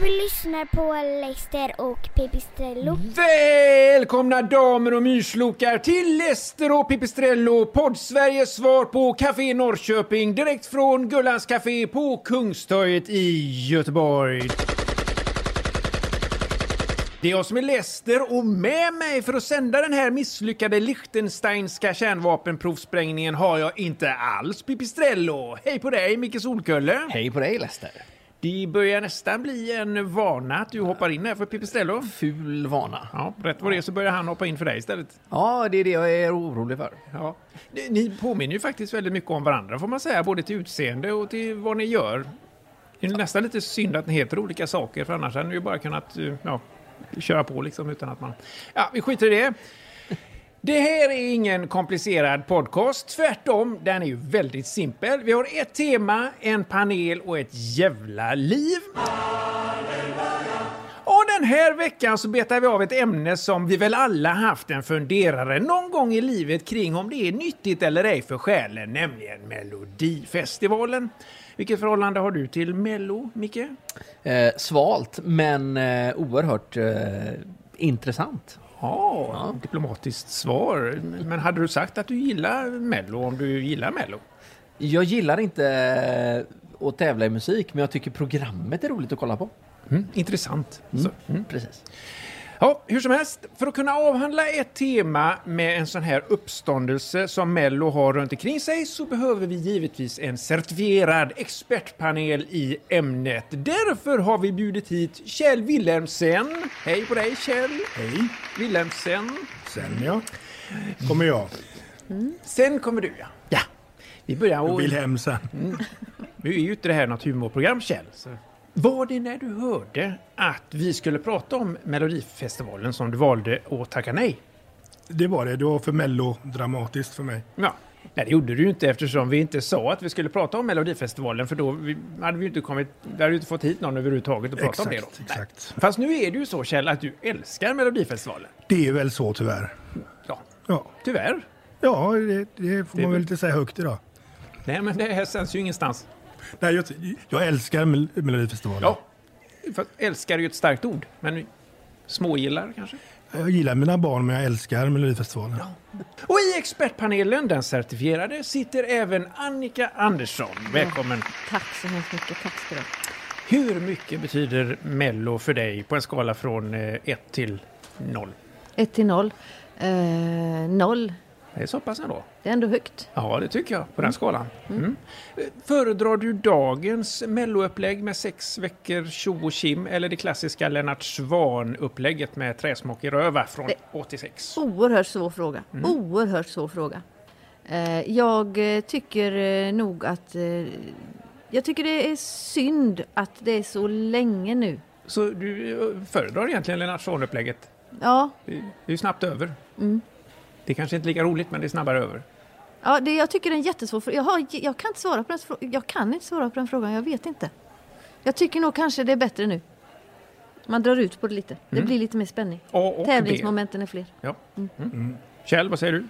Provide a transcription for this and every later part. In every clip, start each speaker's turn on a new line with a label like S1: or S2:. S1: Du lyssnar på Leicester och Pipistrello.
S2: Välkomna damer och myrslokar till Lester och Pipistrello, podd Sveriges svar på Café Norrköping, direkt från Gullans Café på Kungstorget i Göteborg. Det är jag som är Lester och med mig för att sända den här misslyckade Liechtensteinska kärnvapenprovsprängningen har jag inte alls Pipistrello. Hej på dig Micke Solkulle.
S3: Hej på dig Lester.
S2: Det börjar nästan bli en vana att du hoppar in här för Pipistrello.
S3: Ful vana.
S2: Ja, rätt vad det är så börjar han hoppa in för dig istället.
S3: Ja, det är det jag är orolig för.
S2: Ja. Ni, ni påminner ju faktiskt väldigt mycket om varandra får man säga, både till utseende och till vad ni gör. Det är ju nästan lite synd att ni heter olika saker, för annars hade ni ju bara kunnat eh, ja, köra på liksom utan att man... Ja, vi skiter i det. Det här är ingen komplicerad podcast, tvärtom. Den är ju väldigt simpel. Vi har ett tema, en panel och ett jävla liv. Och den här veckan så betar vi av ett ämne som vi väl alla haft en funderare någon gång i livet kring om det är nyttigt eller ej för själen, nämligen Melodifestivalen. Vilket förhållande har du till Mello, Micke?
S3: Eh, svalt, men eh, oerhört eh, intressant.
S2: ja, diplomatiskt svar. Men hade du sagt att du gillar Mello om du gillar Mello?
S3: Jag gillar inte eh, att tävla i musik, men jag tycker programmet är roligt att kolla på.
S2: Mm, intressant. Så. mm.
S3: Precis.
S2: Ja, hur som helst, för att kunna avhandla ett tema med en sån här uppståndelse som Mello har runt omkring sig så behöver vi givetvis en certifierad expertpanel i ämnet. Därför har vi bjudit hit Kjell Wilhelmsen. Hej på dig Kjell! Hej! Wilhelmsen.
S4: Sen ja. Kommer jag.
S2: Mm. Sen kommer du ja. Ja. Vi börjar och...
S4: Wilhelm sen.
S2: Nu Mm. är ju inte det här något humorprogram Kjell. Så. Var det när du hörde att vi skulle prata om Melodifestivalen som du valde att tacka nej?
S4: Det var det. Det var för mellodramatiskt för mig.
S2: Ja. Nej, det gjorde du ju inte eftersom vi inte sa att vi skulle prata om Melodifestivalen för då vi, hade vi ju inte kommit, vi hade ju inte fått hit någon överhuvudtaget att prata om det då.
S4: Exakt, exakt.
S2: Nej. Fast nu är det ju så Kjell att du älskar Melodifestivalen.
S4: Det är väl så tyvärr.
S2: Ja,
S4: Ja,
S2: tyvärr.
S4: ja det, det får man
S2: väl-
S4: väl inte säga högt idag.
S2: Nej, men det här sänds ju ingenstans.
S4: Nej, jag, jag älskar Mel- Melodifestivalen.
S2: Ja, fast älskar är ju ett starkt ord, men smågillar kanske?
S4: Jag gillar mina barn, men jag älskar Melodifestivalen.
S2: Och i expertpanelen, den certifierade, sitter även Annika Andersson. Välkommen!
S5: Tack så hemskt mycket. Tack ska du ha.
S2: Hur mycket betyder Mello för dig på en skala från 1 till 0?
S5: 1 till 0. Eh, 0.
S2: Det är så pass ändå.
S5: Det är ändå högt.
S2: Ja, det tycker jag, på den skalan. Mm. Eh, Föredrar du dagens Mello-upplägg med sex veckor tjo och tjim eller det klassiska Lennart Swahn-upplägget med träsmak i röva från 86?
S5: Oerhört svår fråga.
S2: Mm.
S5: Oerhört svår fråga. Eh, jag eh, tycker eh, nog att... Eh, jag tycker det är synd att det är så länge nu.
S2: Så du eh, föredrar egentligen Lennart Swahn-upplägget?
S5: Ja, Mm.
S2: Det det är ju snabbt över. Det är kanske inte lika roligt, men det är snabbare över.
S5: ja det, jag tycker det är en jättesvår fråga. Jag, har, jag, kan inte svara på den, frå- jag kan inte svara på den frågan. Jag vet inte. Jag tycker nog kanske det är bättre nu. Man drar ut på det lite. Det blir lite mer spänning.
S2: A Mm. och B.
S5: Tävlingsmomenten är fler.
S2: Ja. Mm. Kjell, vad säger du?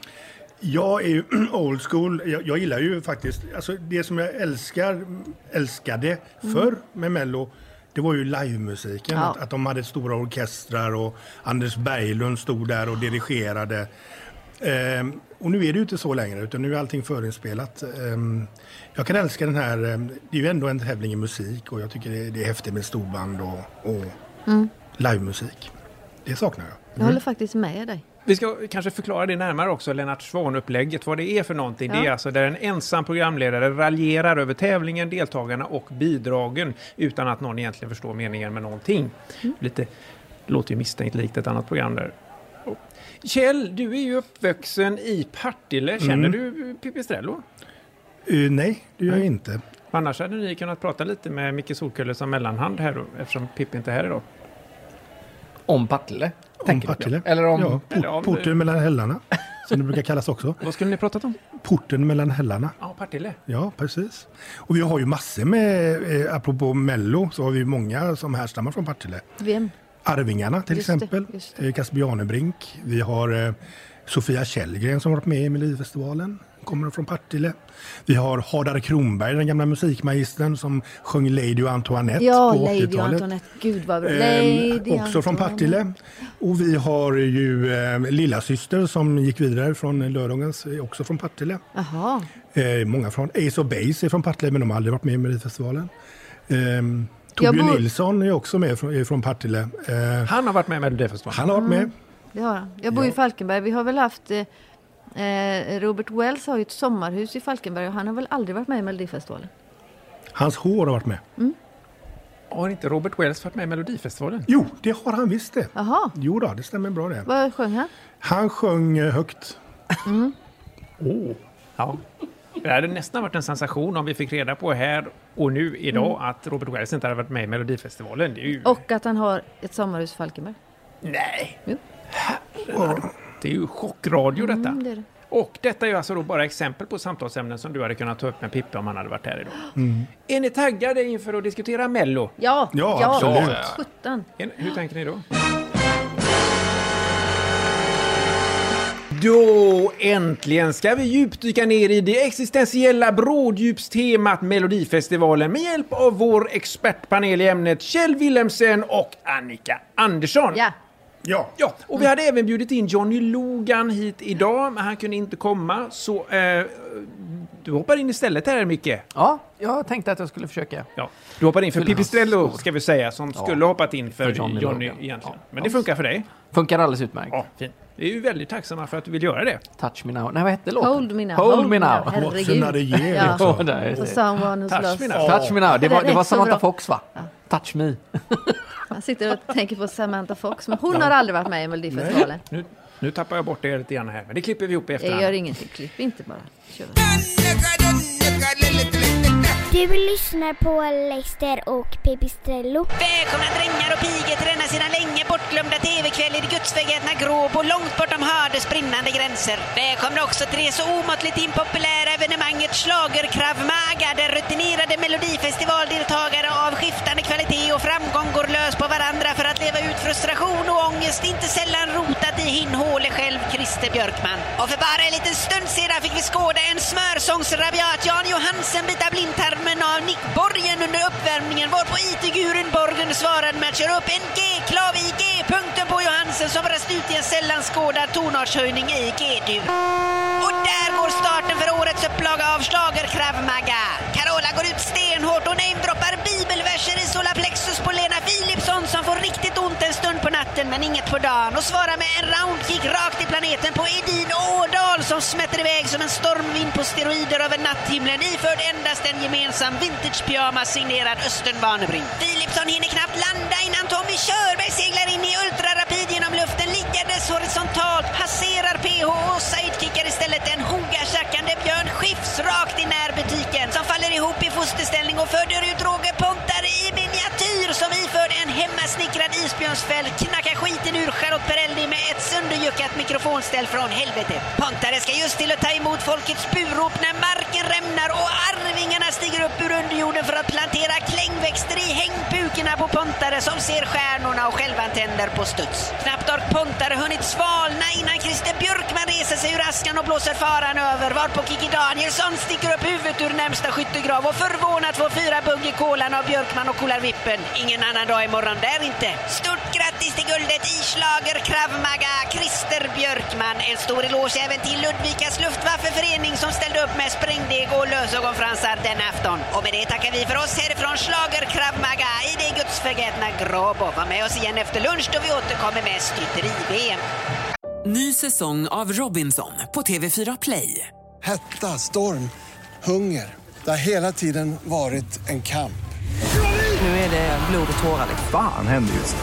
S4: Jag är ju old school. Jag, jag gillar ju faktiskt... Alltså det som jag älskar, älskade förr med Mello, det var ju livemusiken.
S5: Ja.
S4: Att, att de hade stora orkestrar och Anders Berglund stod där och dirigerade. Ehm, och nu är det ju inte så längre, utan nu är allting förinspelat. Ehm, jag kan älska den här... ehm, Det är ju ändå en tävling i musik och jag tycker det, det är häftigt med storband och, och livemusik. Det saknar jag.
S5: Mm. Jag håller faktiskt med dig.
S2: Vi ska kanske förklara det närmare också, Lennart Swahn-upplägget, vad det är för någonting. Det är
S5: Ja.
S2: alltså där en ensam programledare raljerar över tävlingen, deltagarna och bidragen utan att någon egentligen förstår meningen med någonting. Lite, låter ju misstänkt likt ett annat program där. Och- Kjell, du är ju uppvuxen i Partille. Känner du Pipistrello?
S4: Eh, nej, det gör jag inte.
S2: Annars hade ni kunnat prata lite med Micke Solkulle som mellanhand här då, eftersom Pippi inte är här idag.
S3: Om Partille.
S4: Om
S3: tänker du?
S4: Partille.
S3: Eller om...
S4: Ja, port,
S2: Eller om det-
S4: porten mellan hällarna. Som det brukar kallas också.
S2: Vad skulle ni pratat om?
S4: Porten mellan hällarna.
S2: Ja, Partille.
S4: Ja, precis. Och vi har ju massor med, eh, apropå Mello, så har vi ju många som härstammar från Partille.
S5: Vem?
S4: Arvingarna till
S5: Just det,
S4: exempel.
S5: just
S4: Eh, Casper Janebrink. Vi har eh, Sofia Källgren som har varit med i Melodifestivalen. Kommer från Partille. Vi har Hadar Kronberg, den gamla musikmagistern som sjöng Lady och Antoinette
S5: Ja,
S4: på
S5: Lady
S4: 80-talet.
S5: Antoinette. Gud vad bra.
S4: Ehm,
S5: Lady
S4: också från
S5: Antoinette.
S4: Partille. Och vi har ju eh, lilla syster som gick vidare från lördagens, eh, också från Partille.
S5: Jaha.
S4: Eh, många från Ace of Base är från Partille, men de har aldrig varit med i Melodifestivalen. Ehm,
S5: Jag
S4: Torbjörn
S5: bor-
S4: Nilsson är också med från, är från Partille. Eh,
S2: Han har varit med i Melodifestivalen.
S4: han har varit med.
S5: Mm. Det har han. Jag bor i
S4: Ja.
S5: Falkenberg. Vi har väl haft... eh, Eh, Robert Wells har ju ett sommarhus i Falkenberg och han har väl aldrig varit med i Melodifestivalen?
S4: Hans hår har varit med.
S5: Mm.
S2: Har inte Robert Wells varit med i Melodifestivalen?
S4: Jo, det har han visst det.
S5: Jaha,
S4: Jo då, det stämmer bra det.
S5: vad sjöng han? Mm.
S4: Han sjöng eh, högt.
S2: Oh, Ja. Det hade nästan varit en sensation om vi fick reda på här och nu idag att Robert Wells inte hade varit med i Melodifestivalen. Det är ju...
S5: Mm. Och att han har ett sommarhus i Falkenberg.
S2: Nej!
S5: Jo.
S2: Herregud. Det är ju chockradio detta.
S5: Mm, det är det.
S2: Och detta är ju alltså då bara exempel på samtalsämnen som du hade kunnat ta upp med Pippa om han hade varit här idag.
S4: Mm.
S2: Är ni taggade inför att diskutera Mello?
S5: Ja,
S4: Ja, absolut.
S5: sjutton.
S2: Är ni- Hur tänker ni då? Då äntligen ska vi djupdyka ner i det existentiella bråddjupstemat Melodifestivalen med hjälp av vår expertpanel i ämnet Kjell Wilhelmsen och Annika Andersson.
S5: Ja,
S4: Ja.
S2: Ja, och vi hade även bjudit in Johnny Logan hit idag, men han kunde inte komma. Så eh, du hoppar in istället här, Micke.
S3: Ja, jag tänkte att jag skulle försöka.
S2: Ja, du hoppar in för
S3: Fyll hans
S2: Pipistrello,
S3: skor.
S2: ska vi säga, som
S3: Ja.
S2: skulle hoppat in för,
S3: För
S2: Johnny,
S3: Johnny Logan.
S2: egentligen.
S3: Ja.
S2: Men det funkar för dig.
S3: Funkar alldeles utmärkt.
S2: Ja, fint. Vi är ju väldigt tacksamma för att du vill göra det.
S3: Touch me now. Nej, vad hette låten?
S5: Hold me now.
S3: Hold, me now.
S5: Herregud.
S4: What's another year?
S5: Ja.
S3: Ja, där är
S5: och
S3: det.
S5: someone who's
S2: Touch
S5: lost.
S2: me now.
S3: Touch me now. Det var,
S5: Det är
S3: det var
S5: så bra.
S3: Samantha Fox, va? Touch me.
S5: Man sitter och tänker på Samantha Fox, men hon har aldrig varit med i Melodifestivalen.
S2: Nu, nu tappar jag bort det lite grann här, men det klipper vi ihop i
S5: Det gör
S2: efterhand.
S5: ingenting, klipp inte bara. Kör.
S1: Du lyssnar på Leicester och Pipistrello.
S6: Välkomna drängar och pigor till denna sedan länge bortglömda TV-kväll i det gudsförgätna Gråbo, långt bortom hördes brinnande gränser. Välkomna också till det så omåttligt impopulära evenemanget Schlagerkrav Maga, där rutinerade melodifestivaldeltagare av skiftande kvalitet och framgång går lös på varandra för att leva ut frustration och ångest, inte sällan rotat i hinnhåle själv Christer Björkman. Och för bara en liten stund sedan fick vi skåda en smörsångsrabiat Jan Johansen bita blindtarmen av Nick Borgen under uppvärmningen varpå IT-gurun Borgen svarade med att köra upp en G-klav i G-punkten på Johansen som brast ut i en sällan skådad tonartshöjning i G-dur. Och där går starten för årets upplaga av Schlagerkrav Maga. Carola går ut stenhårt och namedroppar bibelverser i solarplexus på Lena Philipsson som får riktigt ont en stund på natten men inget på dagen och svarar med en roundkick rakt i planeten på Edin Årdal som smätter iväg som en stormvind på steroider över natthimlen iförd endast en gemensam vintage-pyjamas signerad Östen Warnerbring. Philipsson hinner knappt landa innan Tommy Körberg seglar in i ultrarapid genom luften liggandes horisontalt, passerar PH och sidekickar istället en hogachackande Björn Skifs rakt i närbutiken som faller ihop i fosterställning och föder ut Roger Pontare i miniatyr som iförd en hemmasnickrad isbjörnsfäll knackar skiten ur Charlotte Perrelli med ett sönderjuckat mikrofonställ från helvetet. Pontare ska just till att ta emot folkets burop när marken rämnar och arvingarna stiger upp ur underjorden för att plantera klängväxter i hängbukarna på Pontare som ser stjärnorna och självantänder på studs. Knappt har Pontare hunnit svalna innan Christer Björkman reser sig ur askan och blåser faran över varpå Kikki Danielsson sticker upp huvudet ur närmsta skyttegrav och förvånat får fyra bugg i kolan av Björkman och kolar vippen. Ingen annan dag imorgon där inte. Stort grattis till guldet i schlager Krav Maga, Christer Björkman. En stor eloge även till Ludvikas luftwaffeförening som ställde upp med sprängdeg och lösögonfransar den afton. Och med det tackar vi för oss härifrån schlager Krav Maga i det gudsförgätna Gråbo. Var med oss igen efter lunch då vi återkommer med strykteri-VM.
S7: Ny säsong av Robinson på TV4 Play.
S8: Hetta, storm, hunger. Det har hela tiden varit en kamp.
S7: Nu är det blod och tårar. liksom.
S9: Fan händer just det.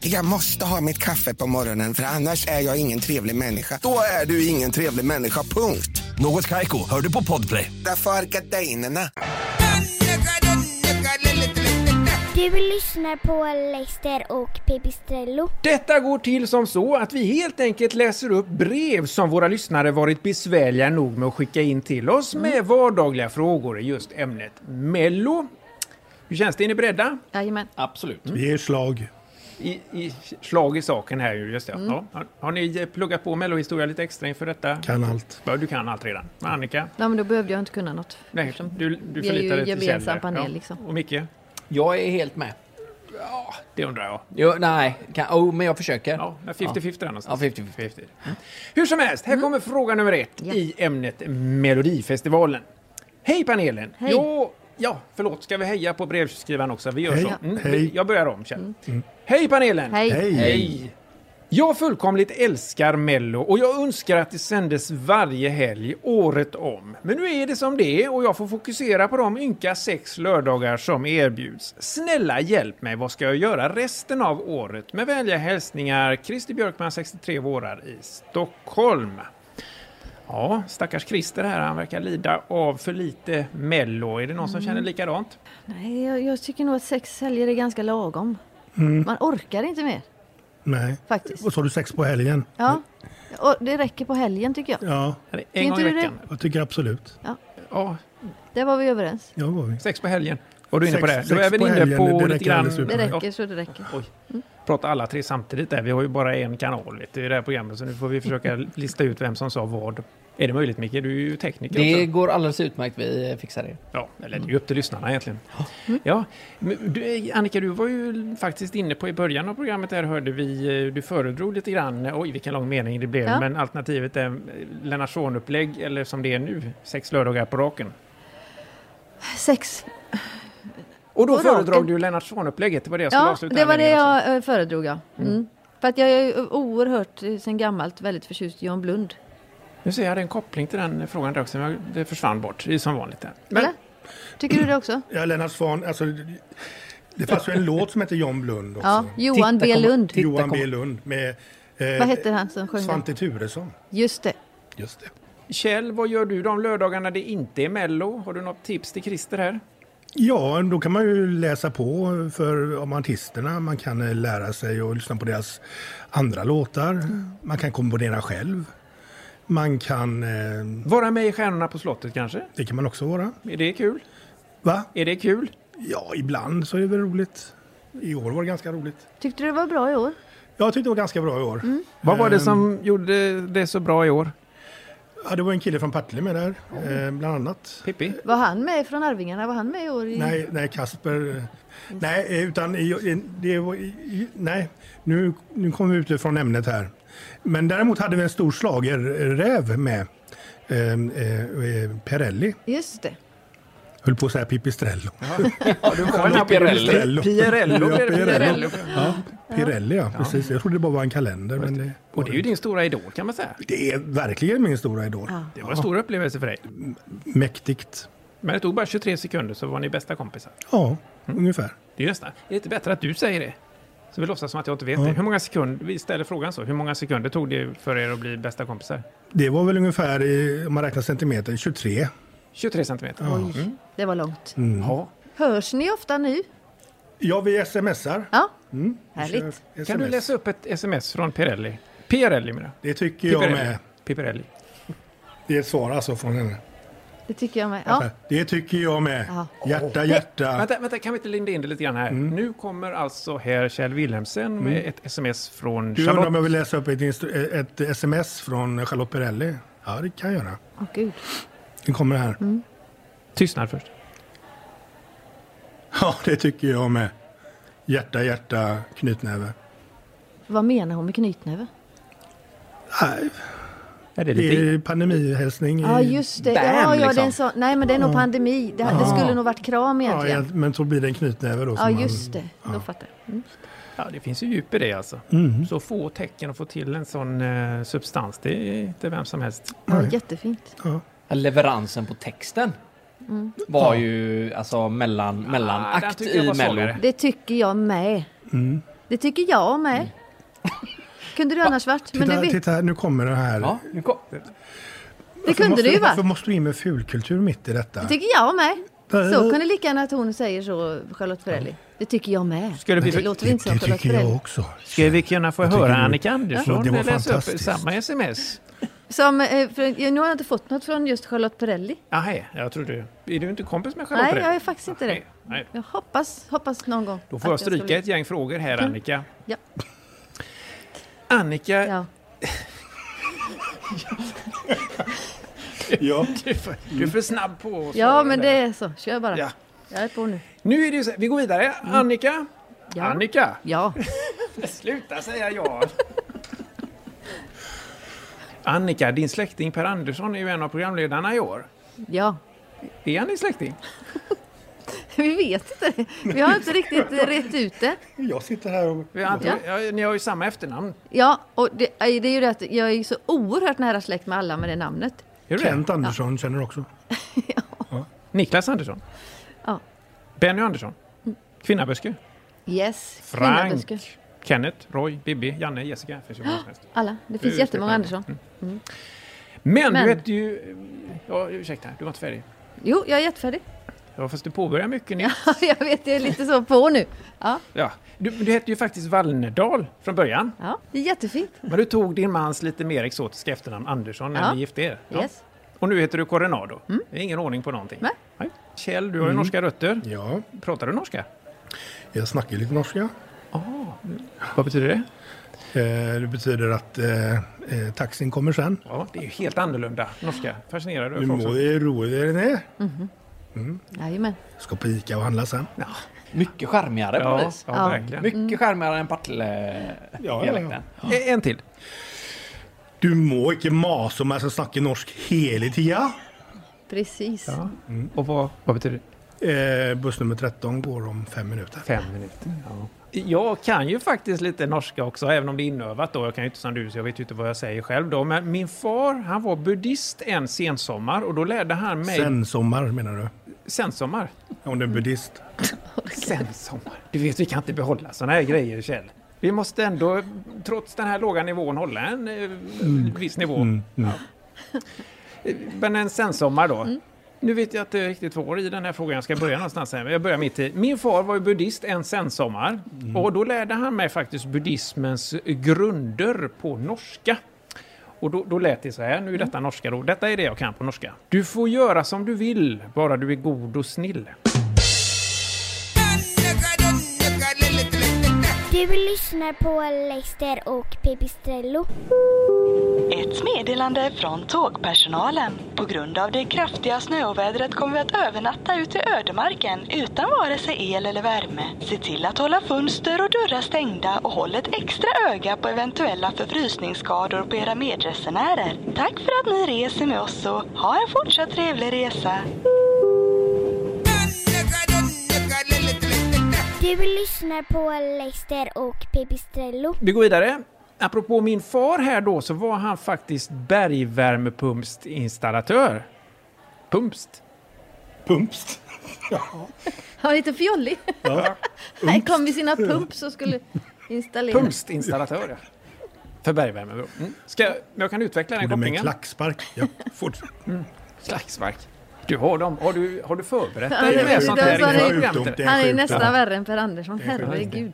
S10: Jag måste ha mitt kaffe på morgonen för annars är jag ingen trevlig människa.
S11: Då är du ingen trevlig människa, punkt.
S12: Något Kaiko, hör du på podplay.
S11: Därför är gardinerna.
S1: Du lyssnar på Leicester och Pipistrello.
S2: Detta går till som så att vi helt enkelt läser upp brev som våra lyssnare varit besvärliga nog med att skicka in till oss med vardagliga frågor i just ämnet Mello. Hur känns det? Är ni beredda?
S5: Jajamän.
S2: Absolut.
S4: Vi är slag.
S2: I, i slag i saken här ju, just det. Ja. Har, har ni pluggat på Mellohistoria lite extra inför detta?
S4: Kan allt.
S2: Ja, du kan allt redan. Annika?
S5: Ja, men då behövde jag inte kunna något.
S2: Nej, liksom. du, du
S5: vi är ju
S2: förlitar dig till
S5: gemensam
S2: Kjell där.
S5: panel, liksom.
S2: Och Micke?
S3: Jag är helt med.
S2: Det undrar jag.
S3: Jo, nej, kan, oh, men jag försöker.
S2: Ja, 50-50 där någonstans. Mm.
S3: Ja, 50-50.
S2: Hur som helst,
S5: Mm.
S2: här kommer fråga nummer ett i ämnet Melodifestivalen. Hej panelen!
S5: Hej.
S2: Jag, ja, förlåt, ska vi heja på brevskrivaren också? Vi gör
S4: Hej.
S2: så. Mm,
S4: Hej. Mm.
S2: vi- Jag börjar om, Kjell. Hej panelen!
S5: Hej.
S4: Hej.
S2: Hej. Jag fullkomligt älskar Mello och jag önskar att det sändes varje helg året om. Men nu är det som det är och jag får fokusera på de ynka sex lördagar som erbjuds. Snälla hjälp mig, vad ska jag göra resten av året? Med vänliga hälsningar, Christer Björkman, 63 vårar i Stockholm. Ja, stackars Christer här, han verkar lida av för lite Mello. Är det någon
S3: Mm.
S2: som känner likadant?
S5: Nej, jag, jag tycker nog att sex helger är ganska lagom. Man orkar inte mer,
S4: Nej.
S5: faktiskt.
S4: Och så har du sex på helgen.
S5: Ja. Och det räcker på helgen, tycker jag.
S4: Ja,
S2: En gång i
S5: inte du det?
S2: veckan?
S4: jag tycker absolut.
S2: Ja,
S5: Där var vi överens.
S4: Ja, var vi.
S2: sex på helgen. Var du inne på
S4: Sex-
S2: det? Då
S4: sex
S2: är vi
S4: på
S2: inne
S4: helgen,
S2: på
S4: det
S2: lite
S4: räcker
S2: grann...
S4: alldeles
S5: Mm. Det
S4: utmärkt.
S5: räcker så det räcker. Mm.
S2: Oj. Prata alla tre samtidigt där. Vi har ju bara en kanal vet du, i det här programmet så nu får vi försöka lista ut vem som sa vad. Är det möjligt Micke? Du är ju tekniker
S3: Det
S2: också.
S3: går alldeles utmärkt, vi fixar det.
S2: Ja, eller det är ju upp till lyssnarna egentligen. Ja, men du, Annika, du var ju faktiskt inne på i början av programmet här hörde vi, eh, du föredrog lite grann, oj vilken lång mening det blev,
S5: Ja.
S2: men alternativet är eh, Lennart Zorn-upplägg eller som det är nu, sex lördagar på raken.
S5: Sex.
S2: Och då
S5: På raken?
S2: föredrog du Lennart Zorn-upplägget, det var det jag skulle
S5: Ja,
S2: avsluta
S5: det
S2: här
S5: var det
S2: meningen, alltså.
S5: jag eh, föredrog, ja. Mm. För att jag är ju oerhört, eh, sen gammalt, väldigt förtjust i John Blund.
S2: Nu ser jag, jag hade en koppling till den frågan där också, men jag- det försvann bort, det är som vanligt. Där. Men-
S5: Eller? Tycker du det också?
S4: Ja, Lennart Swahn, alltså, det fanns ju en låt som hette John Blund också.
S5: Ja, Johan
S3: Titta,
S5: B.
S3: kom-
S5: Lund.
S3: titta,
S4: Johan
S3: kom-
S4: B. Lund med
S5: Vad
S4: eh,
S5: hette han som sjöng den?
S4: Svante Thuresson.
S5: Just det.
S4: Just det.
S2: Kjell, vad gör du de lördagarna det inte är Mello? Har du något tips till Christer här?
S4: Ja, då kan man ju läsa på för, om artisterna. Man kan eh, lära sig och lyssna på deras andra låtar.
S2: Mm.
S4: Man kan komponera själv. Man kan... Eh,
S2: Vara med i Stjärnorna på slottet kanske?
S4: det kan man också vara.
S2: Är det kul?
S4: Va?
S2: Är det kul?
S4: Ja, ibland så är det väl roligt. I år var det ganska roligt.
S5: Tyckte du det var bra i år? Mm.
S4: Jag tyckte det var ganska bra i år.
S2: Mm.
S4: Ehm.
S2: Vad var det som gjorde det så bra i år?
S4: Ja, det var en kille från Partille med där, eh, bland annat.
S2: Pippi?
S5: Var han med från Arvingarna? Var han med i år? I...
S4: Nej, nej, Kasper. eh, Nej, eh, utan i- i- det var... i- i- Nej, nu, nu kommer vi ut från ämnet här. Men däremot hade vi en stor schlagerräv med. Eh, eh, eh, Perelli,
S5: Just det.
S4: höll på att säga Pipistrello.
S2: Ja, du var med
S4: Pirello.
S2: Pirello.
S4: Ja,
S2: blev det. Pirello.
S4: Pirello. Ja, Pirelli, ja. Precis. Jag trodde det bara var en kalender. Men det,
S2: Och det är ju din stora idol kan man säga.
S4: det är verkligen min stora idol.
S2: Det var en stor upplevelse för dig.
S4: Mäktigt.
S2: Men det tog bara 23 sekunder så var ni bästa kompisar.
S4: Ja,
S2: Mm.
S4: ungefär.
S2: Det är ju nästan. Det är inte bättre att du säger det. Så vi låtsas som att jag inte vet det. Hur många sekunder, vi ställer frågan så. Hur många sekunder tog det för er att bli bästa kompisar?
S4: Det var väl ungefär, eh, om man räknar centimeter, 23.
S2: 23 centimeter.
S5: Oj, det var långt.
S4: Mm.
S2: Ja.
S5: Hörs ni ofta nu?
S4: Ja, vi smsar.
S5: Ja,
S4: Vi Mm. kör
S5: härligt.
S4: SMS.
S2: Kan du läsa upp ett sms från Pirelli? Pirelli menar
S4: Det tycker
S2: jag.
S4: jag
S2: Piperelli.
S4: med.
S2: Piperelli.
S4: Det är ett svar alltså från henne.
S5: Det tycker jag med. Ja.
S4: Det tycker jag med.
S5: Ja.
S4: Hjärta, hjärta. Mm.
S2: Vänta, vänta, kan vi inte linda in det lite grann här? Nu kommer alltså här Kjell Wilhelmsen med ett sms från
S4: Du undrar om jag
S2: Charlotte.
S4: vill läsa upp ett, instru- ett sms från Charlotte Perrelli? Ja, det kan jag göra.
S5: Åh gud.
S4: Den kommer här.
S5: Mm.
S2: Tystnad först.
S4: Ja, det tycker jag med. Hjärta, hjärta, knytnäve.
S5: Vad menar hon med knytnäve?
S4: Nej,
S2: Är det
S4: Det
S2: lite-
S4: är pandemihälsning. i-
S5: Ja, just det. ja, ja, det är en
S3: liksom.
S5: sån, nej, men det är nog
S4: Ja.
S5: pandemi. Det, det
S4: Ja.
S5: skulle nog varit kram
S4: Ja,
S5: egentligen.
S4: egent- men så blir det en knytnäve då.
S5: Ja,
S4: som man-
S5: just det. Då fattar jag. Mm.
S2: Ja, det finns ju djup i det alltså.
S4: Mm.
S2: Så få tecken att få till en sån eh, substans, det är inte vem som helst.
S5: Ja, jättefint.
S3: Leveransen på texten
S5: Mm.
S3: var ju alltså mellan,
S5: där
S3: mellanakt
S5: tycker jag
S3: i
S5: var
S3: Mello.
S5: Det tycker jag med.
S4: Mm.
S5: Det tycker jag med.
S3: Mm.
S5: Kunde du annars varit? Men
S4: Titta,
S5: du vet,
S4: titta, här, nu kommer den här.
S3: nu kom.
S5: det kunde
S4: måste,
S5: du ju
S4: Varför
S5: varit.
S4: måste du in med fulkultur mitt i detta?
S5: Det tycker jag med. Så kunde lika gärna att hon säger så, Charlotte Perrelli. Det tycker jag med.
S2: Ska det bli-
S5: det låter väl inte som
S2: det
S5: Charlotte
S2: tycker jag
S5: Perrelli.
S4: också.
S2: Ska vi kunna få
S4: Jag tycker
S2: höra
S4: det-
S2: Annika
S4: Ja,
S2: Andersson
S4: det var
S2: läsa upp
S4: fantastiskt.
S2: samma sms?
S5: Som, eh, för, nu har jag inte fått något från just Charlotte Perrelli.
S2: Ah, hej, jag tror du... Är du inte kompis med Charlotte?
S5: Nej,
S2: Perrelli?
S5: jag är faktiskt inte det.
S2: Nej.
S5: Jag hoppas, hoppas någon gång.
S2: Då får jag
S5: att ska bli-
S2: stryka ett gäng frågor här,
S5: Mm.
S2: Annika.
S5: Ja.
S2: Annika...
S5: Ja.
S2: ja. Du, är för, du är för snabb på att svara
S5: Ja, men
S2: där.
S5: det är så. Kör bara.
S2: Ja.
S5: Jag är på nu.
S2: Nu är det ju så, vi går vidare. Annika?
S5: Mm. Ja.
S2: Annika?
S5: Ja.
S2: Sluta säga ja. Annika, din släkting Per Andersson är ju en av programledarna i år.
S5: Ja.
S2: Är han din släkting?
S5: Vi vet inte. Vi har inte riktigt eh, rett ut det.
S4: Jag sitter här och...
S2: Vi har inte, ja, ni har ju samma efternamn.
S5: Ja, och det, eh, det är ju det att jag är ju så oerhört nära släkt med alla med det namnet.
S4: Kent Andersson känner du också.
S2: Niklas Andersson?
S5: Ja.
S2: Benny Andersson? Kvinnaböske?
S5: Yes.
S2: Frank?
S5: Kvinnaböske.
S2: Kenneth, Roy, Bibi, Janne, Jessica. Det Finns ju många som helst.
S5: Ah, Alla. Det finns
S2: Du,
S5: jättemånga
S2: Stefan.
S5: Andersson. Mm.
S2: Men,
S5: Men-
S2: du vet ju... eh, Ja, ursäkta, du var inte färdig.
S5: Jo, jag är jättefärdig.
S2: Ja, fast du påbörjar mycket nytt.
S5: jag vet, jag är lite så på nu. Ja,
S2: Ja. Du, du hette ju faktiskt Wallnerdal från början.
S5: ja. det är jättefint.
S2: Men du tog din mans lite mer exotiska efternamn Andersson när
S5: Ja.
S2: ni gifte er.
S5: Yes. Mm.
S2: Och nu heter du Coronado. Det är ingen ordning på någonting. Nej. Kjell, du har ju
S4: Mm.
S2: norska rötter.
S4: Ja.
S2: Pratar du norska?
S4: Jag snackar ju lite norska.
S2: Ah. Vad betyder det?
S4: Eh, det betyder att eh, eh, taxin kommer sen.
S2: Ja, det är ju helt annorlunda norska. Fascinerad
S4: Du
S2: över folk
S4: må
S2: som-
S4: det är roligare det.
S5: Mhm.
S4: Mm.
S5: Jajamän.
S4: Ska på Ica och handla sen.
S3: Mycket charmigare på
S4: Ja,
S3: något vis.
S4: ja, Ja. verkligen.
S5: Mm.
S3: Mycket charmigare än Partille-dialekten.
S4: ja,
S2: Eh, En till.
S4: Du må ikke mase om jeg skal snakke norsk hele tida.
S5: Precis.
S2: Mm. Och vad, vad betyder
S4: det? Eh, buss nummer 13 går om fem minuter.
S2: Fem minuter, ja. Jag kan ju faktiskt lite norska också, även om det är inövat då. Jag kan ju inte som du, så jag vet ju inte vad jag säger själv då. Men min far, han var buddhist en sensommar och då lärde han mig...
S4: Sensommar menar du?
S2: Sensommar?
S4: Om du är buddhist.
S2: Sensommar. Du vet, vi kan inte behålla sådana här grejer, Kjell. Vi måste ändå, trots den här låga nivån, hålla en eh, viss nivå.
S4: Mm, mm.
S2: Men en sensommar då. Nu vet jag inte riktigt var i den här frågan jag ska börja någonstans. Här, men jag börjar mitt i. Min far var ju buddhist en sensommar.
S4: Mm.
S2: Och då lärde han mig faktiskt buddhismens grunder på norska. Och då, då lät det så här, nu är detta norska då. Detta är det jag kan på norska. Du får göra som du vill, bara du är god och snill.
S1: Du lyssnar på Leicester och Pipistrello.
S13: Ett meddelande från tågpersonalen. På grund av det kraftiga snöovädret kommer vi att övernatta ute i ödemarken utan vare sig el eller värme. Se till att hålla fönster och dörrar stängda och håll ett extra öga på eventuella förfrysningsskador på era medresenärer. Tack för att ni reser med oss och ha en fortsatt trevlig resa.
S1: Du lyssnar på Leicester och Pipistrello.
S2: Vi går vidare. Apropå min far här då, så var han faktiskt bergvärmepumpsinstallatör. Pumpst?
S4: Pumpst?
S5: Ja, lite fjollig.
S2: Ja.
S5: Han kom med sina pumps och skulle installera.
S2: Pumpstinstallatör, ja. För bergvärme. bro. Mm. Ska, jag- jag kan utveckla den
S4: Tog du med en
S2: kopplingen. Mm.
S4: klackspark? Ja, fortsätt.
S2: Klackspark. Du har dem. Har du, har du förberett
S5: Ja, det
S2: dig med
S5: vet
S2: sånt
S5: jag,
S2: här
S5: så
S2: inför
S5: det-
S2: programmet?
S5: Han är ju nästan värre än Per Andersson.
S2: är sjukdom.
S5: Herregud.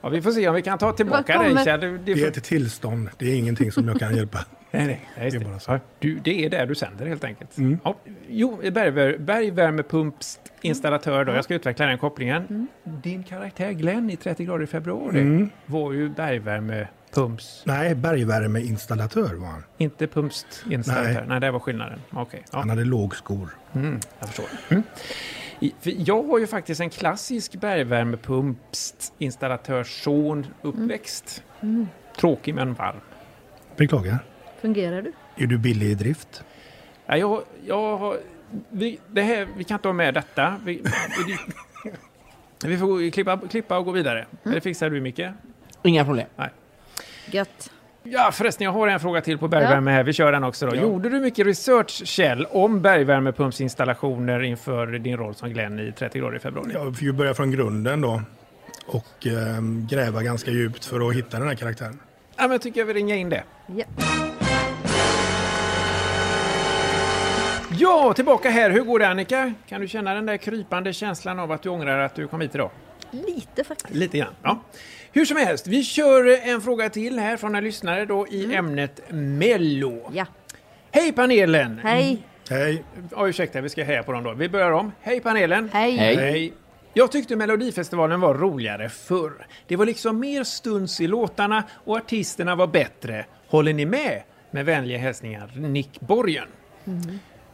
S2: Ja, vi får se om vi kan ta tillbaka
S5: Vad kommer-
S2: dig, Kjell. Du-
S4: Det är ett tillstånd. Mm, Det är ingenting som jag kan hjälpa.
S2: Nej, nej, nej, just det. Ja, Du, det är där du sänder helt enkelt. Ja. Jo, bergvär, bergvärmepumpsinstallatör då. Jag ska utveckla den kopplingen. Din karaktär Glenn i 30 grader i februari
S4: Mm.
S2: var ju bergvärmepumps...
S4: Nej, bergvärmeinstallatör var han.
S2: Inte pumpsinstallatör. Nej. nej, det var skillnaden. Okej. Ja.
S4: Han hade lågskor.
S2: Mm, jag förstår. Mm. I- för Jag har ju faktiskt en klassisk bergvärmepumpsinstallatörsson uppväxt.
S5: Mm.
S2: Tråkig men varm.
S4: Beklagar.
S5: Fungerar du?
S4: Är du billig i drift?
S2: Ja, jag, jag har... Vi, det här, vi kan inte ha med detta. Vi, vi, vi får klippa, klippa och gå vidare. Det fixar du, Micke.
S3: Inga problem.
S2: Nej.
S5: Gött.
S2: Ja, förresten, jag har en fråga till på bergvärme här. Vi kör den också då. Gjorde du mycket research, Kjell, om bergvärmepumpsinstallationer inför din roll som Glenn i 30 grader i februari?
S4: Jag får ju börja från grunden då. Och ehm, gräva ganska djupt för att hitta den här karaktären.
S2: Ja, men jag tycker jag vill ringa in det.
S5: Ja.
S2: Ja, tillbaka här. Hur går det Annika? Kan du känna den där krypande känslan av att du ångrar att du kom hit idag?
S5: Lite faktiskt.
S2: Lite grann, ja. Hur som helst, vi kör eh, en fråga till här från en lyssnare då i ämnet Mello.
S5: Mm. Ja.
S2: Hej panelen!
S5: Hej.
S4: Hej!
S2: Ja, ursäkta, vi ska heja på dem då. Vi börjar om. Hej panelen!
S5: Hej. Hej.
S2: Jag tyckte Melodifestivalen var roligare förr. Det var liksom mer stuns i låtarna och artisterna var bättre. Håller ni med? Med vänliga hälsningar, Nick Borgen.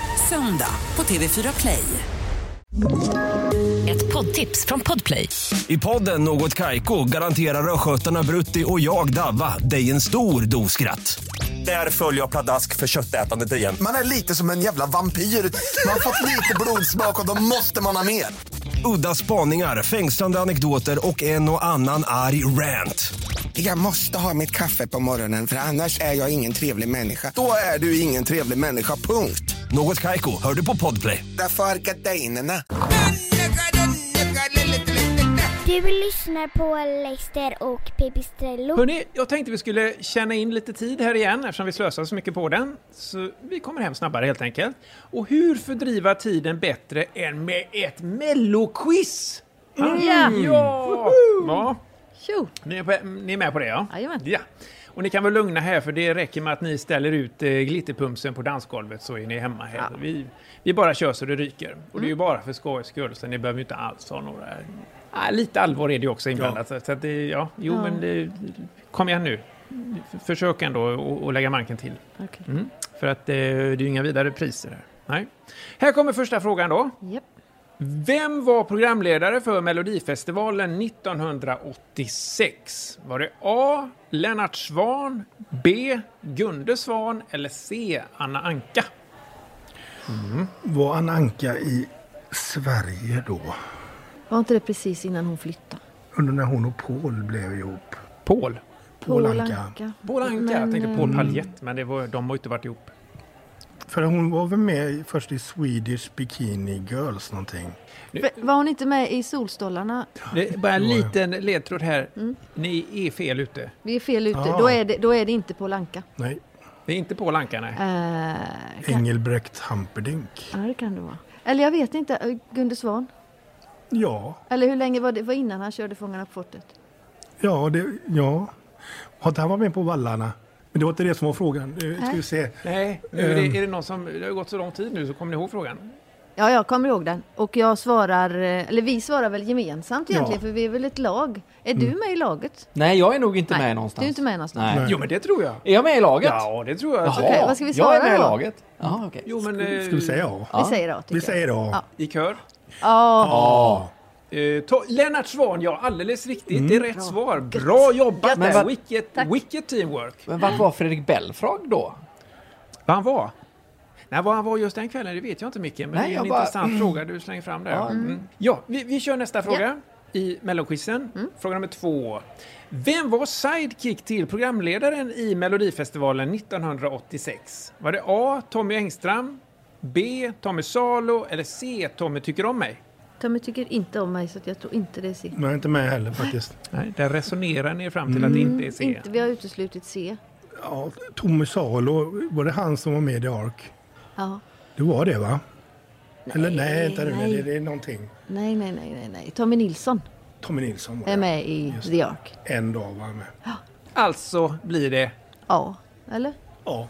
S7: söndag på TV4 Play.
S14: Ett poddtips från Podplay.
S12: I podden Något Kaiko garanterar östgötarna Brutti och jag, Davva, dig en stor dos skratt. Där följer jag pladask för köttätandet igen.
S11: Man är lite som en jävla vampyr. Man har fått lite blodsmak och då måste man ha mer.
S12: Udda spaningar, fängslande anekdoter och en och annan arg rant.
S10: Jag måste ha mitt kaffe på morgonen för annars är jag ingen trevlig människa. Då är du ingen trevlig människa, punkt.
S12: Något Kaiko, hör du på Podplay.
S10: Därför är gardinerna.
S1: Du lyssnar på Leicester och Pipistrello.
S2: Hörni, jag tänkte vi skulle tjäna in lite tid här igen eftersom vi slösar så mycket på den. Så vi kommer hem snabbare helt enkelt. Och hur fördriva tiden bättre än med ett melloquiz?
S5: Mm.
S2: Ja! ja.
S5: Tjo!
S2: Ni är, på, ni är med på det ja?
S5: Jajamän.
S2: Ja. Och ni kan vara lugna här för det räcker med att ni ställer ut eh, glitterpumpsen på dansgolvet så är ni hemma här. Vi, vi bara kör så det ryker. Och
S5: Mm.
S2: det är ju bara för skojs skull så ni behöver ju inte alls ha några... Ah, lite allvar är det ju också inblandat. så- Så att det, ja, jo
S5: Ja.
S2: men det, kom igen nu. F- Försök ändå att- att lägga manken till.
S5: Okej.
S2: Mm. För att eh, det är ju inga vidare priser här. Nej. Här kommer första frågan då.
S5: Japp.
S2: Vem var programledare för Melodifestivalen 1986? Var det A. Lennart Svan, B. Gunde Svan eller C. Anna Anka? Mm.
S4: Var Anna Anka i Sverige då?
S5: Var inte det precis innan hon flyttade?
S4: Under när hon och Paul blev ihop.
S2: Paul?
S4: Paul Anka.
S2: Paul Anka. Jag tänkte
S4: eh,
S2: Paul
S4: Mm.
S2: Paljett, men det var, de har ju inte varit ihop.
S4: För hon var väl med i- först i Swedish Bikini Girls någonting.
S5: V- Var hon inte med i Solstolarna?
S2: Det är bara en liten ledtråd här.
S5: Mm.
S2: Ni är fel ute.
S5: Vi är fel ute.
S2: Ah.
S5: Då, är det, då är det inte Paul Anka.
S4: Nej.
S2: Det är inte Paul Anka, nej.
S5: Eh, kan-
S4: Engelbrekt Hamperdink.
S5: Ja, det kan det vara. Eller jag vet inte. eh, Gunde Svan?
S4: Ja,
S5: Eller hur länge var det? var innan han körde Fångarna på fortet?
S4: ja, det, ja. Har inte han varit med på Vallarna? Men det var inte det som var frågan. Eh, Ska vi se.
S2: Nej, nu är,
S4: Ehm.
S2: det, är det någon som... Det har gått så lång tid nu så kommer ni ihåg frågan?
S5: Ja, jag kommer ihåg den. Och jag svarar... eh, Eller vi svarar väl gemensamt
S3: Ja.
S5: egentligen, för vi är väl ett lag. Är du
S3: Mm.
S5: med i laget?
S3: Nej, jag är nog inte
S5: Nej,
S3: med någonstans.
S5: du är inte med någonstans.
S3: Nej.
S2: Jo, men det tror jag.
S3: Är jag med i laget?
S2: Ja, det tror jag.
S3: Jaha,
S5: Okej, vad ska vi
S3: jag är
S5: svara
S3: med i
S5: då?
S3: laget. Jaha, okej.
S2: Jo, men... eh,
S4: Ska vi säga A?
S5: Vi säger A, tycker
S4: Vi säger A.
S5: Ja.
S2: I kör?
S5: Ja.
S2: Eh, ta- Lennart Svan, ja alldeles riktigt.
S4: Mm.
S2: Det är rätt svar. Bra jobbat!
S3: Men
S2: där.
S3: vad-
S2: Wicked, wicked teamwork.
S3: Men vart var Fredrik Belfrage då?
S2: Vad han var? Nej, vad han var just den kvällen, det vet jag inte Micke. Men
S3: Nej,
S2: det är
S3: jag
S2: en
S3: bara-
S2: intressant
S3: Mm.
S2: fråga du slänger fram där.
S3: Ja.
S2: Ja, mm. ja vi, vi kör nästa fråga i melloquizen. Fråga nummer två. Vem var sidekick till programledaren i Melodifestivalen 1986? Var det A. Tommy Engström, B. Tommy Salo eller C. Tommy tycker om mig?
S5: Tommy tycker inte om mig, så att jag tror inte det är C.
S4: Men jag är inte med heller faktiskt.
S2: Nej, där resonerar ni fram till att
S5: Mm.
S2: det inte är C.
S5: Inte, vi har uteslutit C.
S4: Ja, Tommy Salo, var det han som var med i Ark?
S5: Ja.
S4: Det var det va? Eller nej, vänta nu,
S5: nej.
S4: nej. det är någonting.
S5: Nej, nej, nej, nej, nej. Tommy Nilsson
S4: Tommy Nilsson var
S5: är med i
S4: Just
S5: The Ark.
S4: En dag var han med.
S2: Alltså blir det
S5: Ja, eller?
S4: Ja.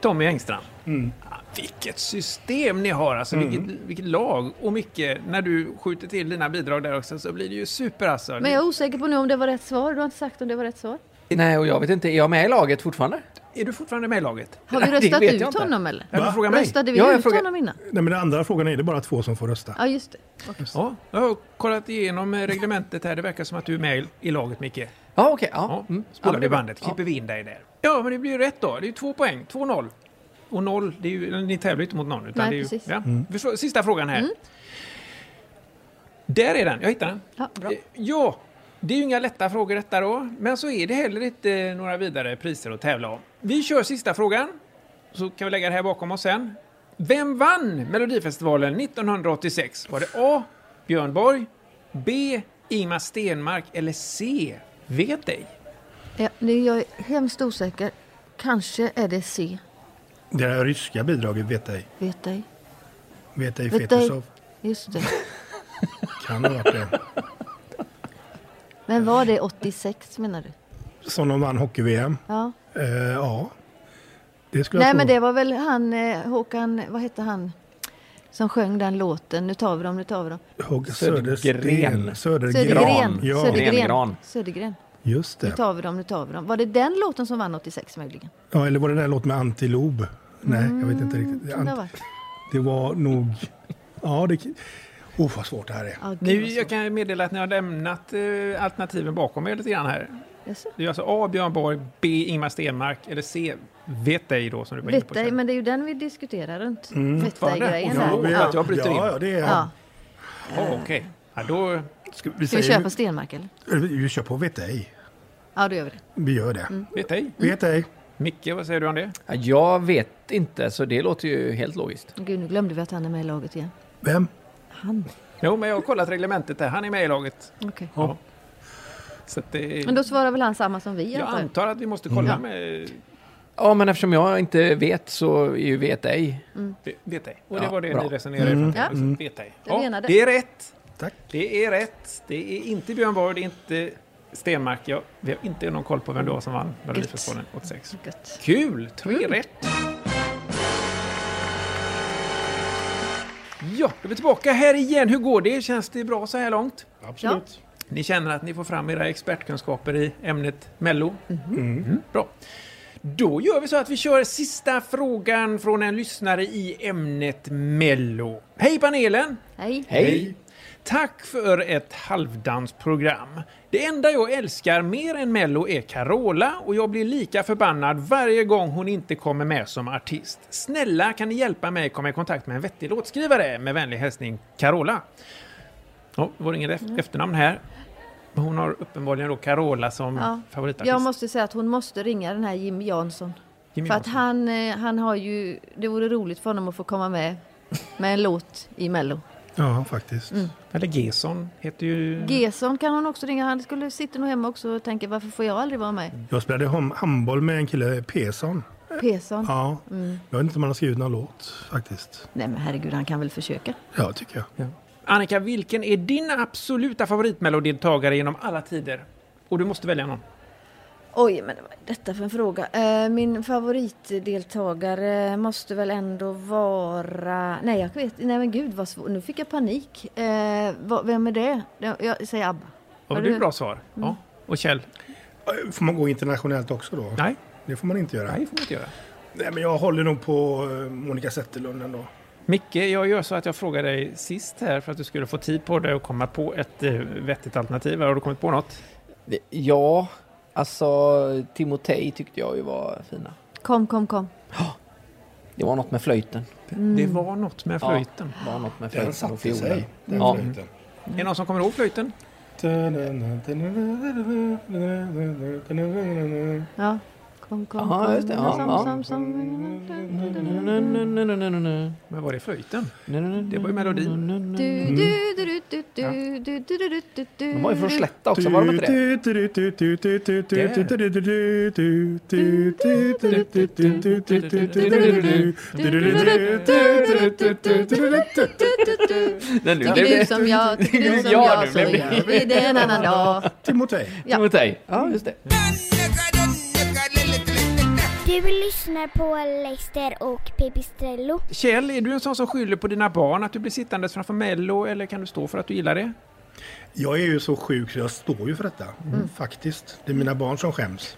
S2: Tommy Engström.
S4: Mm.
S2: Vilket system ni har, alltså
S5: Mm.
S2: vilket, vilket lag. Och mycket när du skjuter till dina bidrag där också så blir det ju super alltså.
S5: Men jag är osäker på nu om det var rätt svar. Du har inte sagt om det var rätt svar.
S3: Nej, och jag vet inte. Är jag med i laget fortfarande?
S2: Är du fortfarande med i laget?
S5: Har vi
S2: Det
S5: röstat
S2: vet jag
S5: ut
S2: inte.
S5: honom eller?
S2: Ja, du frågar mig.
S5: Röstade vi
S2: Ja, jag
S5: ut
S2: frågar-
S5: honom innan?
S4: Nej, men den andra frågan är det bara två som får rösta.
S5: Ja, just det.
S2: Ja, jag har kollat igenom eh, reglementet här. Det verkar som att du är med i- i laget, Micke.
S3: Ja, okej. ja. Mm.
S2: Spolar
S3: Ja,
S2: vi
S3: det-
S2: bandet,
S3: ja.
S2: klipper vi in dig där. Ja, men det blir ju rätt då. Det är ju två poäng, 2-0. Och noll, det är ju, ni tävlar ju inte mot någon. Utan
S5: Nej,
S2: det är ju,
S5: precis.
S2: Ja.
S5: Mm.
S2: Vi får- Sista frågan här. Där är den, jag hittade den.
S5: Ja, bra.
S2: Eh, Ja, det är ju inga lätta frågor detta då. Men så är det heller inte eh, några vidare priser att tävla om. Vi kör sista frågan, så kan vi lägga det här bakom oss sen. Vem vann Melodifestivalen 1986? Var det A. Björn Borg, B. Ingmar Stenmark eller C. Vet ej?
S5: Ja, det- jag är hemskt osäker. Kanske är det C.
S4: Det här ryska bidraget vet ej.
S5: Vet ej.
S4: Vet ej
S5: Vet ej.
S4: Fetisov.
S5: Just det.
S4: Kan ha varit det.
S5: Men var det 86 menar du?
S4: Som de vann hockey-VM.
S5: Ja.
S4: Eh, ja. Det skulle
S5: Nej
S4: jag
S5: men
S4: tro.
S5: det var väl han, eh, Håkan, vad hette han? Som sjöng den låten, nu tar vi dem, nu tar vi dem.
S4: Håkan Södersten.
S3: Södergren.
S4: Södergren.
S5: Södergren.
S4: Ja.
S5: Södergren. Södergren.
S4: Just
S5: Nu
S4: det.
S5: tar vi dem, nu tar vi dem. Var det den låten som vann 86 möjligen?
S4: Ja, eller var det den här låten med antilob? Nej, jag vet inte riktigt.
S5: Kan det ha
S4: Ant-
S5: varit?
S4: Det var nog... Ja, det... Oh, vad svårt det här är.
S5: Ja, gud,
S2: Nu, jag kan meddela att ni har lämnat eh, alternativen bakom er lite grann här.
S5: Jaså?
S2: Det är alltså A. Björn Borg, B. Ingmar Stenmark eller C. Vet ej då som du var inne
S5: Vet
S2: på.
S5: ej, men det är ju den vi diskuterar runt.
S2: Mm.
S5: Vet
S2: Fortfarande?
S5: ej-grejen
S2: Och
S5: där.
S2: jag vet att jag bryter in.
S4: Ja, ja, det är...
S5: Ja.
S2: Ja, Okej, ja, då...
S4: Ska
S5: Ska vi köpa Stenmark eller?
S4: Eh, Vi kör på vet ej.
S5: Ja, då gör vi det.
S4: Vi gör det.
S5: Mm.
S4: Mm.
S2: Vet ej.
S4: Vet ej.
S2: Micke, vad säger du om det?
S3: Ja, Jag vet inte, så det låter ju helt logiskt.
S5: Gud, nu glömde vi att han är med i laget igen.
S4: Vem?
S5: Han.
S2: Jo, men jag har kollat reglementet där. Han är med i laget.
S5: Okej.
S2: Ja. Så att det...
S5: Men då svarar väl han samma som vi?
S2: Jag
S5: antar jag.
S2: antar att vi måste kolla
S3: Mm.
S2: med...
S3: Ja, men eftersom jag inte vet så är ju vet ej.
S5: Mm.
S2: Ve- Vet ej. Och
S3: Ja,
S2: det var det
S3: bra.
S2: ni resonerade
S3: Mm.
S2: mm. fram till.
S3: Ja.
S2: Liksom. Vet ej.
S3: Det menade.
S2: det är rätt.
S4: Tack.
S2: Det är rätt. Det är inte Björn Borg, det är inte Stenmark. Jag, vi har inte någon koll på vem det var som vann Melodifestivalen 86.
S5: Gött.
S2: Kul! Tre rätt. Ja, då är vi tillbaka här igen. Hur går det? Känns det bra så här långt?
S4: Absolut.
S2: Ni känner att ni får fram era expertkunskaper i ämnet Mello? Mhm. Bra. Då gör vi så att vi kör sista frågan från en lyssnare i ämnet Mello. Hej panelen!
S5: Hej.
S2: Tack för ett halvdansprogram. Det enda jag älskar mer än Mello är Carola och jag blir lika förbannad varje gång hon inte kommer med som artist. Snälla kan ni hjälpa mig komma i kontakt med en vettig låtskrivare? Med vänlig hälsning Carola. Ja, det var ingen ef-
S5: Mm.
S2: efternamn här. Men Hon har uppenbarligen då Carola som
S5: Ja.
S2: Mm. favoritartist.
S5: Jag måste säga att hon måste ringa den här Jim Jansson.
S2: Jimmy
S5: För att
S2: Jansson.
S5: han, eh, han har ju, det vore roligt för honom att få komma med med en låt i Mello.
S4: Ja, faktiskt.
S5: Mm.
S2: Eller Gesson heter ju...
S5: Gesson kan hon också ringa, han skulle sitta nog hemma också och tänka varför får jag aldrig vara med?
S4: Jag spelade hom- handboll med en kille, Pesson.
S5: Pesson.
S4: Ja.
S5: Mm.
S4: Jag vet inte om han har skrivit någon låt faktiskt.
S5: Nej men herregud, han kan väl försöka.
S4: Ja, tycker jag.
S2: Annika, vilken är din absoluta favoritmellodeltagare genom alla tider? Och du måste välja någon.
S5: Oj, men vad är detta för en fråga? Eh, Min favoritdeltagare måste väl ändå vara... Nej, jag vet Nej men gud vad svårt. Nu fick jag panik. Eh, vad- Vem är det? Jag säger ABBA.
S2: Ja,
S5: Har
S2: det är
S5: du- Mm.
S2: ett bra svar. Ja. Och Kjell?
S4: Får man gå internationellt också då?
S2: Nej.
S4: Det får man inte göra.
S2: Nej, det får man inte göra.
S4: Nej, men jag håller nog på eh, Monica Zetterlund ändå.
S2: Micke, jag gör så att jag frågar dig sist här för att du skulle få tid på dig och komma på ett eh, vettigt alternativ. Har du kommit på något?
S3: Ja, alltså Timotej tyckte jag ju var fina.
S5: Kom, kom, kom.
S3: Det var något med flöjten.
S2: Det var något med flöjten.
S3: Ja, det var något
S2: Den
S3: med flöjten
S2: Mm. satte
S3: och fiolen.
S2: sig, den
S3: ja. Mm.
S2: flöjten. Är det någon som kommer ihåg flöjten? Mm.
S5: Ja. Kom, kom,
S3: Ja,
S5: kom.
S3: just det. Ja,
S5: Sam,
S3: ja.
S5: sam, sam.
S2: Men var det flöjten?
S3: Mm.
S2: Det var ju melodin.
S5: Du,
S2: Mm.
S5: du, du, du, du, du, du, du, du, du, du, du.
S2: De var ju från Slätta
S3: också, var de inte det? Nej, nu
S5: Tycker
S3: blev
S5: du
S3: det-
S5: som jag, tycker du som
S3: Ja,
S5: jag,
S3: nu
S5: så
S3: blev det-
S5: gör vi det en annan dag.
S4: Timotej.
S5: Ja.
S3: Timotej, ja just det.
S1: Du Du lyssnar på Leicester och Pipistrello.
S2: Kjell, är du en sån som skyller på dina barn att du blir sittandes framför Mello eller kan du stå för att du gillar det?
S4: Jag är ju så sjuk så jag står ju för detta.
S2: Mm.
S4: Faktiskt. Det är mina barn som skäms.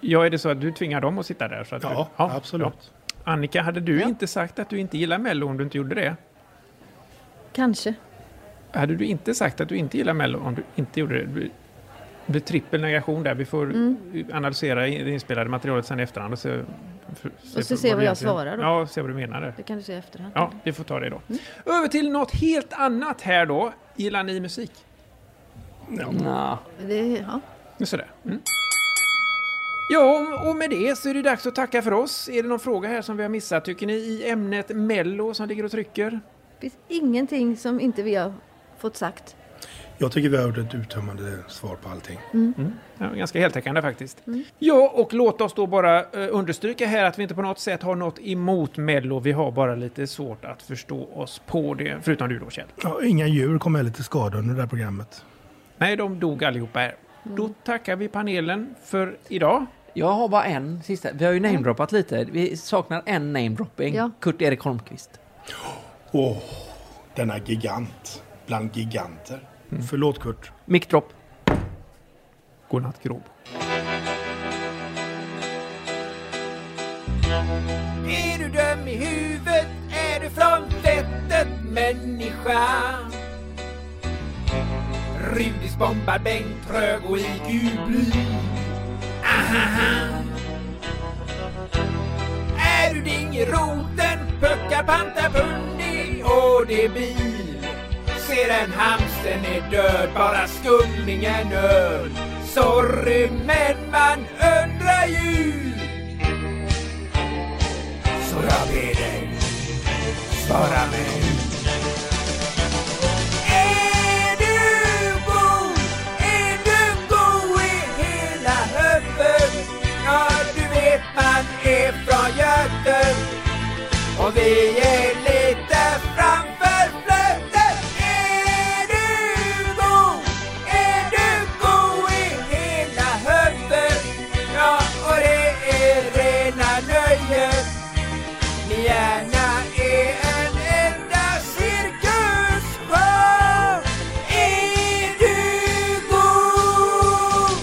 S2: Ja, är det så att du tvingar dem att sitta där? Så att ja, du... ja, absolut. Annika, hade du inte sagt att du inte gillar Mello om du inte gjorde det?
S5: Kanske.
S2: Hade du inte sagt att du inte gillar Mello om du inte gjorde det? Det blir- det blir trippel negation där. Vi får
S5: Mm.
S2: analysera i- det inspelade materialet sen i efterhand och se, för,
S5: Och
S2: för-
S5: så
S2: vi
S5: se vad jag
S2: egentligen-
S5: svarar då.
S2: Ja, se vad du menar där.
S5: Det kan du se i efterhand. Mm.
S2: Ja, vi får ta det då. Över till något helt annat här då. Gillar ni musik?
S3: Nja.
S5: Det, ja.
S2: Sådär. Mm. Ja, och- och med det så är det dags att tacka för oss. Är det någon fråga här som vi har missat, tycker ni, i ämnet Mello som ligger och trycker?
S5: Det finns ingenting som inte vi har fått sagt.
S4: Jag tycker vi har hört ett uttömmande svar på allting.
S5: Mm.
S2: Ja, ganska heltäckande faktiskt. Ja, och låt oss då bara eh, understryka här att vi inte på något sätt har något emot Mello. Vi har bara lite svårt att förstå oss på det, förutom du då Kjell.
S4: Ja, inga djur kom heller till skada under det här programmet.
S2: Nej, de dog allihopa här. Då tackar vi panelen för idag.
S3: Jag har bara en sista. Vi har ju namedroppat lite. Vi saknar en namedropping.
S2: Ja.
S3: Kurt-Erik Holmqvist.
S4: Åh, denna gigant bland giganter. Mm. Förlåt Kurt.
S3: Mickdropp.
S2: Godnatt Grob.
S14: Är du döm i huvudet? Är du från fettet människa? Rudis bombar Bengt Trög och IQ blyg. Ahaha. Är du dingeroten? Pucka panta pundi och debil. Ser en hamsten är död, bara skumlingen öl. Sorry men man undrar ju. Så jag ber dig, svara mig. Är du god? Är du god i hela höften? Ja, du vet man är från Göten. Och vi är lite framför flöten. Är du god? Är du god i hela höften? Ja, och det är rena nöjet. Ni gärna är en enda cirkusshow. Är du god?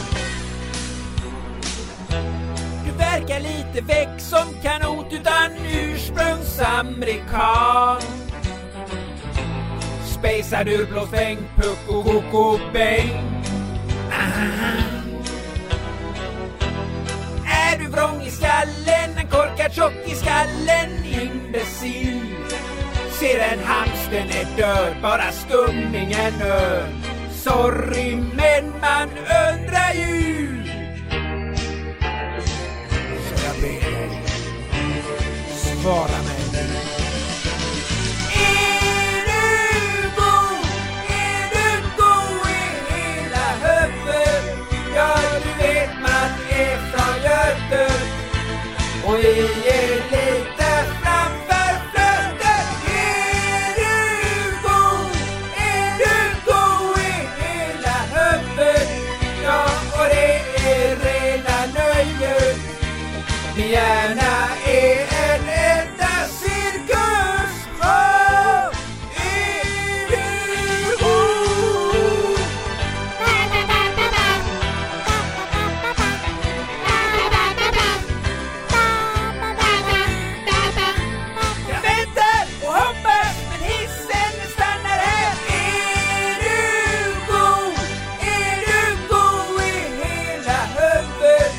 S14: Du verkar lite väck som kanot utan ursprungsamerikan. Spejsad ur blåfäng, puck och koko bäng. Ah. Är du vrång i skallen, en korkad tjock i skallen, imbecill? Ser en hamsten är död, bara skumningen öl. Sorry men man undrar ju. Så jag ber dig, svara mig. Är du god? Är du god i hela höften? Ja, du vet man är från Götet och vi är lite framför flödet. Är du god? Är du god i hela höften? Ja, och det är rena nöjet. Min hjärna är en enda cirkusshow. Är du god? Jag väntar och hoppas men hissen stannar här. Är du god? Är du god i hela huvudet?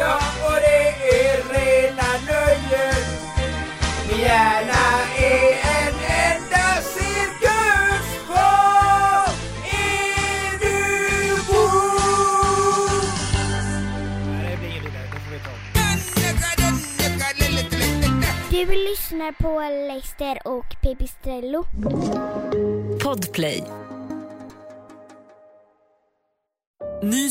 S14: Ja, och det är rena nöjet. Min hjärna är en enda cirkusshow. Är du god?
S1: Du lyssnar på Leicester och Pipistrello.
S15: Podplay.
S7: Ny